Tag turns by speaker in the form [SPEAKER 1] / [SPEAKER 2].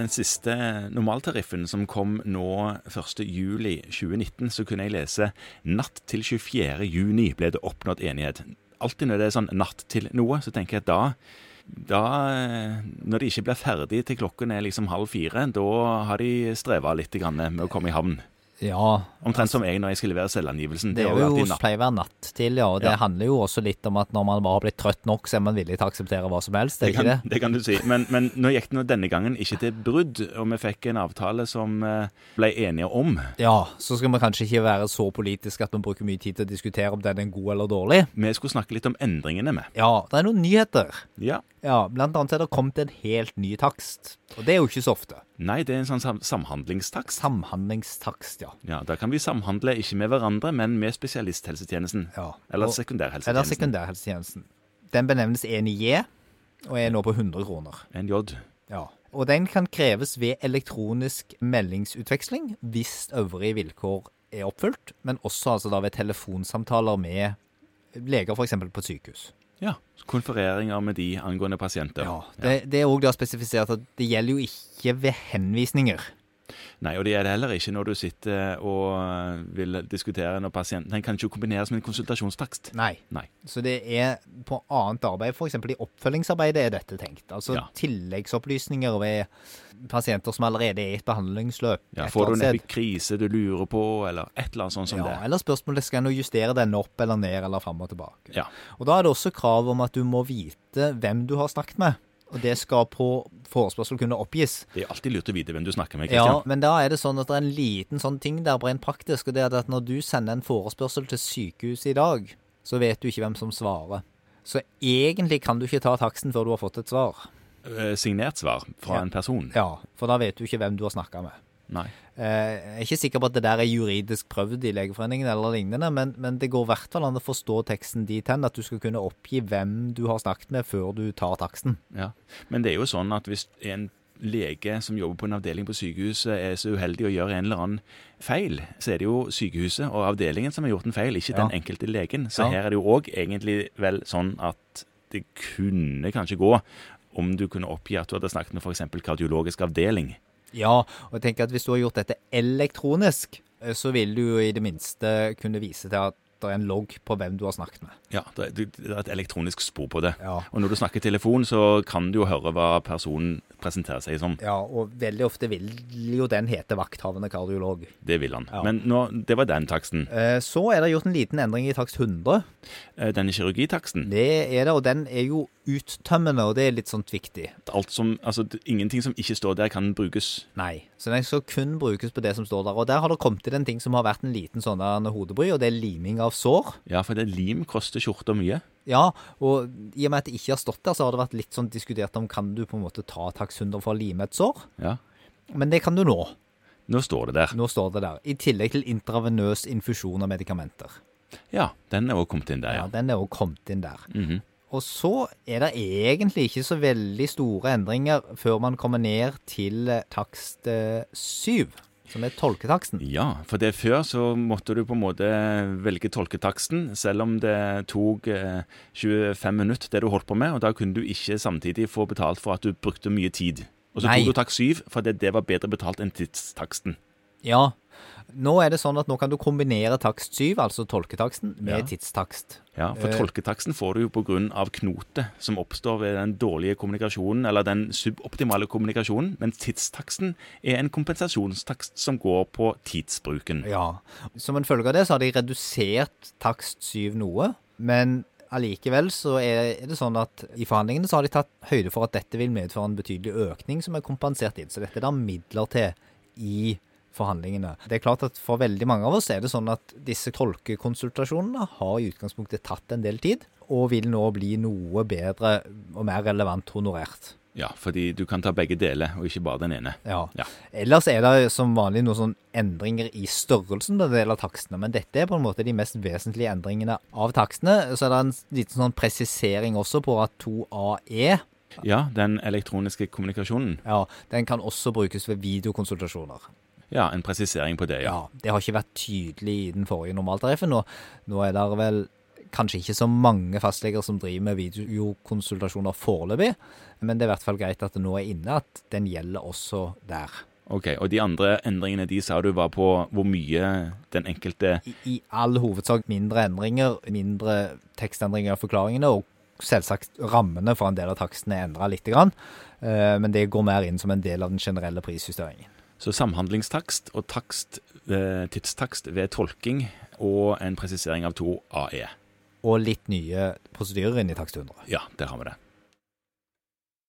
[SPEAKER 1] den siste normaltariffen som kom nå 1.7.2019, så kunne jeg lese natt til 24.6 ble det oppnådd enighet. Alltid når det er sånn natt til noe, så tenker jeg at da da, når de ikke blir ferdig til klokken er liksom halv fire, da har de streva litt grann med å komme i havn.
[SPEAKER 2] Ja,
[SPEAKER 1] Omtrent som jeg når jeg skal levere selvangivelsen.
[SPEAKER 2] det er
[SPEAKER 1] var
[SPEAKER 2] jo
[SPEAKER 1] alltid natt.
[SPEAKER 2] pleier å være natt til, ja. Og det
[SPEAKER 1] Ja.
[SPEAKER 2] handler jo også litt om at når man bare har blitt trøtt nok, så er man villig til å akseptere hva som helst, er
[SPEAKER 1] Det
[SPEAKER 2] ikke
[SPEAKER 1] kan,
[SPEAKER 2] det?
[SPEAKER 1] det kan du si. Men, men nå gikk det nå denne gangen ikke til brudd, og vi fikk en avtale som eh, ble enige om.
[SPEAKER 2] Ja, så skal vi kanskje ikke være så politiske at vi bruker mye tid til å diskutere om den er god eller dårlig.
[SPEAKER 1] Vi skulle snakke litt om endringene med.
[SPEAKER 2] Ja, det er noen nyheter.
[SPEAKER 1] Ja.
[SPEAKER 2] Ja, blant annet er det kommet en helt ny takst. Og det er jo ikke så ofte.
[SPEAKER 1] Nei, det er en sånn sam samhandlingstakst.
[SPEAKER 2] Samhandlingstakst, ja.
[SPEAKER 1] Ja, Da kan vi samhandle ikke med hverandre, men med spesialisthelsetjenesten.
[SPEAKER 2] Ja.
[SPEAKER 1] Eller
[SPEAKER 2] Og-
[SPEAKER 1] sekundærhelsetjenesten.
[SPEAKER 2] Eller sekundærhelsetjenesten. Den benevnes 1IJ, og er nå på 100 kroner.
[SPEAKER 1] NJ.
[SPEAKER 2] Ja. Og den kan kreves ved elektronisk meldingsutveksling hvis øvrige vilkår er oppfylt, men også altså da ved telefonsamtaler med leger f.eks. på et sykehus.
[SPEAKER 1] Ja. Konfereringer med de angående pasienter.
[SPEAKER 2] Ja, det, det er òg da spesifisert at det gjelder jo ikke ved henvisninger.
[SPEAKER 1] Nei, og det er det heller ikke når du sitter eh, og vil diskutere når pasienten Den kan ikke kombineres med en konsultasjonstakst.
[SPEAKER 2] Nei.
[SPEAKER 1] Nei.
[SPEAKER 2] Så det er på annet arbeid, f.eks. i oppfølgingsarbeidet er dette tenkt. Altså
[SPEAKER 1] Ja.
[SPEAKER 2] tilleggsopplysninger ved pasienter som allerede er i et behandlingsløp.
[SPEAKER 1] Ja,
[SPEAKER 2] et
[SPEAKER 1] får du
[SPEAKER 2] eller
[SPEAKER 1] en
[SPEAKER 2] annet sted.
[SPEAKER 1] epic krise du lurer på, eller et eller annet sånt som
[SPEAKER 2] ja,
[SPEAKER 1] det.
[SPEAKER 2] Eller spørsmålet skal en justere denne opp eller ned eller fram og tilbake.
[SPEAKER 1] Ja.
[SPEAKER 2] Og Da er det også krav om at du må vite hvem du har snakket med. Og det skal på forespørsel kunne oppgis.
[SPEAKER 1] Det er alltid lurt å vite hvem du snakker med,
[SPEAKER 2] Ja,
[SPEAKER 1] Kristian.
[SPEAKER 2] Men da er det sånn at det er en liten sånn ting der, bare en praktisk, og det er at når du sender en forespørsel til sykehuset i dag, så vet du ikke hvem som svarer. Så egentlig kan du ikke ta taksten før du har fått et svar.
[SPEAKER 1] Eh, Signert svar fra
[SPEAKER 2] Ja.
[SPEAKER 1] en person.
[SPEAKER 2] Ja, For da vet du ikke hvem du har snakka med.
[SPEAKER 1] Nei.
[SPEAKER 2] Eh, Jeg er ikke sikker på at det der er juridisk prøvd i Legeforeningen eller lignende, men, men det går i hvert fall an å forstå teksten dit hen, at du skal kunne oppgi hvem du har snakket med før du tar taksten.
[SPEAKER 1] Ja. Men det er jo sånn at hvis en lege som jobber på en avdeling på sykehuset er så uheldig å gjøre en eller annen feil, så er det jo sykehuset og avdelingen som har gjort en feil, ikke
[SPEAKER 2] Ja.
[SPEAKER 1] den enkelte legen. Så
[SPEAKER 2] Ja.
[SPEAKER 1] her er det jo òg egentlig vel sånn at det kunne kanskje gå om du kunne oppgi at du hadde snakket med f.eks. kardiologisk avdeling.
[SPEAKER 2] Ja, og jeg tenker at hvis du har gjort dette elektronisk, eh, så vil du jo i det minste kunne vise til at det er en logg på hvem du har snakket med.
[SPEAKER 1] Ja, det er- det er et elektronisk spor på det.
[SPEAKER 2] Ja.
[SPEAKER 1] Og når du snakker telefon, så kan du jo høre hva personen presenterer seg som.
[SPEAKER 2] Ja, og veldig ofte vil jo den hete vakthavende kardiolog.
[SPEAKER 1] Det vil han.
[SPEAKER 2] Ja.
[SPEAKER 1] Men nå, det var den taksten.
[SPEAKER 2] Eh, Så er det gjort en liten endring i takst 100.
[SPEAKER 1] Eh, Denne kirurgitaksten
[SPEAKER 2] Det er det, og den er jo uttømmende, og det er litt sånt viktig.
[SPEAKER 1] alt som, altså, d- ingenting som ikke står der, kan brukes.
[SPEAKER 2] Nei, så den skal kun brukes på det som står der. Og der har det kommet til en ting som har vært en liten sånn der hodebry, og det er liming av sår.
[SPEAKER 1] Ja, for det lim koster skjorta mye.
[SPEAKER 2] Ja, og i og med at det ikke har stått der, så har det vært litt sånn diskutert om kan du på en måte ta taksthunder for å lime et sår?
[SPEAKER 1] Ja.
[SPEAKER 2] Men det kan du nå.
[SPEAKER 1] Nå står det der.
[SPEAKER 2] Nå står det der. I tillegg til intravenøs infusjon av medikamenter.
[SPEAKER 1] Ja, den er også kommet inn der,
[SPEAKER 2] Ja,
[SPEAKER 1] ja.
[SPEAKER 2] Den er jo kommet inn der.
[SPEAKER 1] Mhm.
[SPEAKER 2] Og så er det egentlig ikke så veldig store endringer før man kommer ned til eh, takst eh, syv, som er tolketaksten.
[SPEAKER 1] Ja, for det før så måtte du på en måte velge tolketaksten, selv om det tok eh, 25 minutter det du holdt på med, og da kunne du ikke samtidig få betalt for at du brukte mye tid. Og så
[SPEAKER 2] Nei.
[SPEAKER 1] tok du takst 7, for det, det var bedre betalt enn tidstaksten.
[SPEAKER 2] Ja. Nå er det sånn at nå kan du kombinere takst 7, altså tolketaksten, med
[SPEAKER 1] Ja.
[SPEAKER 2] tidstakst.
[SPEAKER 1] Ja, for
[SPEAKER 2] Eh.
[SPEAKER 1] tolketaksten får du jo på grunn av knotet som oppstår ved den dårlige kommunikasjonen, eller den suboptimale kommunikasjonen, mens tidstaksten er en kompensasjonstakst som går på tidsbruken.
[SPEAKER 2] Ja. Som en følge av det så har de redusert takst 7 noe, men allikevel så er det sånn at i forhandlingene så har de tatt høyde for at dette vil medføre en betydelig økning som er kompensert inn. Så dette er da midler til i forhandlingene. Det er klart at for veldig mange av oss er det sånn at disse tolkekonsultasjonene har i utgangspunktet tatt en del tid, og vil nå bli noe bedre og mer relevant honorert.
[SPEAKER 1] Ja, fordi du kan ta begge deler, og ikke bare den ene.
[SPEAKER 2] Ja.
[SPEAKER 1] Ja.
[SPEAKER 2] Ellers er det som vanlig noen sånn endringer i størrelsen på en del av takstene, men dette er på en måte de mest vesentlige endringene av takstene. Så er det en liten sånn presisering også på at 2AE
[SPEAKER 1] Ja, den elektroniske kommunikasjonen.
[SPEAKER 2] ja, den kan også brukes ved videokonsultasjoner.
[SPEAKER 1] Ja, en presisering på det, ja.
[SPEAKER 2] Ja, Det har ikke vært tydelig i den forrige normaltariffen. og Nå er det vel kanskje ikke så mange fastleger som driver med videokonsultasjoner foreløpig, men det er i hvert fall greit at det nå er inne at den gjelder også der.
[SPEAKER 1] Ok, Og de andre endringene de sa du var på hvor mye den enkelte
[SPEAKER 2] I, i all hovedsak mindre endringer, mindre tekstendringer av forklaringene, og selvsagt rammene for en del av takstene er endra litt, grann, eh, men det går mer inn som en del av den generelle prisjusteringen.
[SPEAKER 1] Så samhandlingstakst og takst, eh, tidstakst ved tolking og en presisering av to AE.
[SPEAKER 2] Og litt nye prosedyrer inn i takst 100.
[SPEAKER 1] Ja, der har vi det.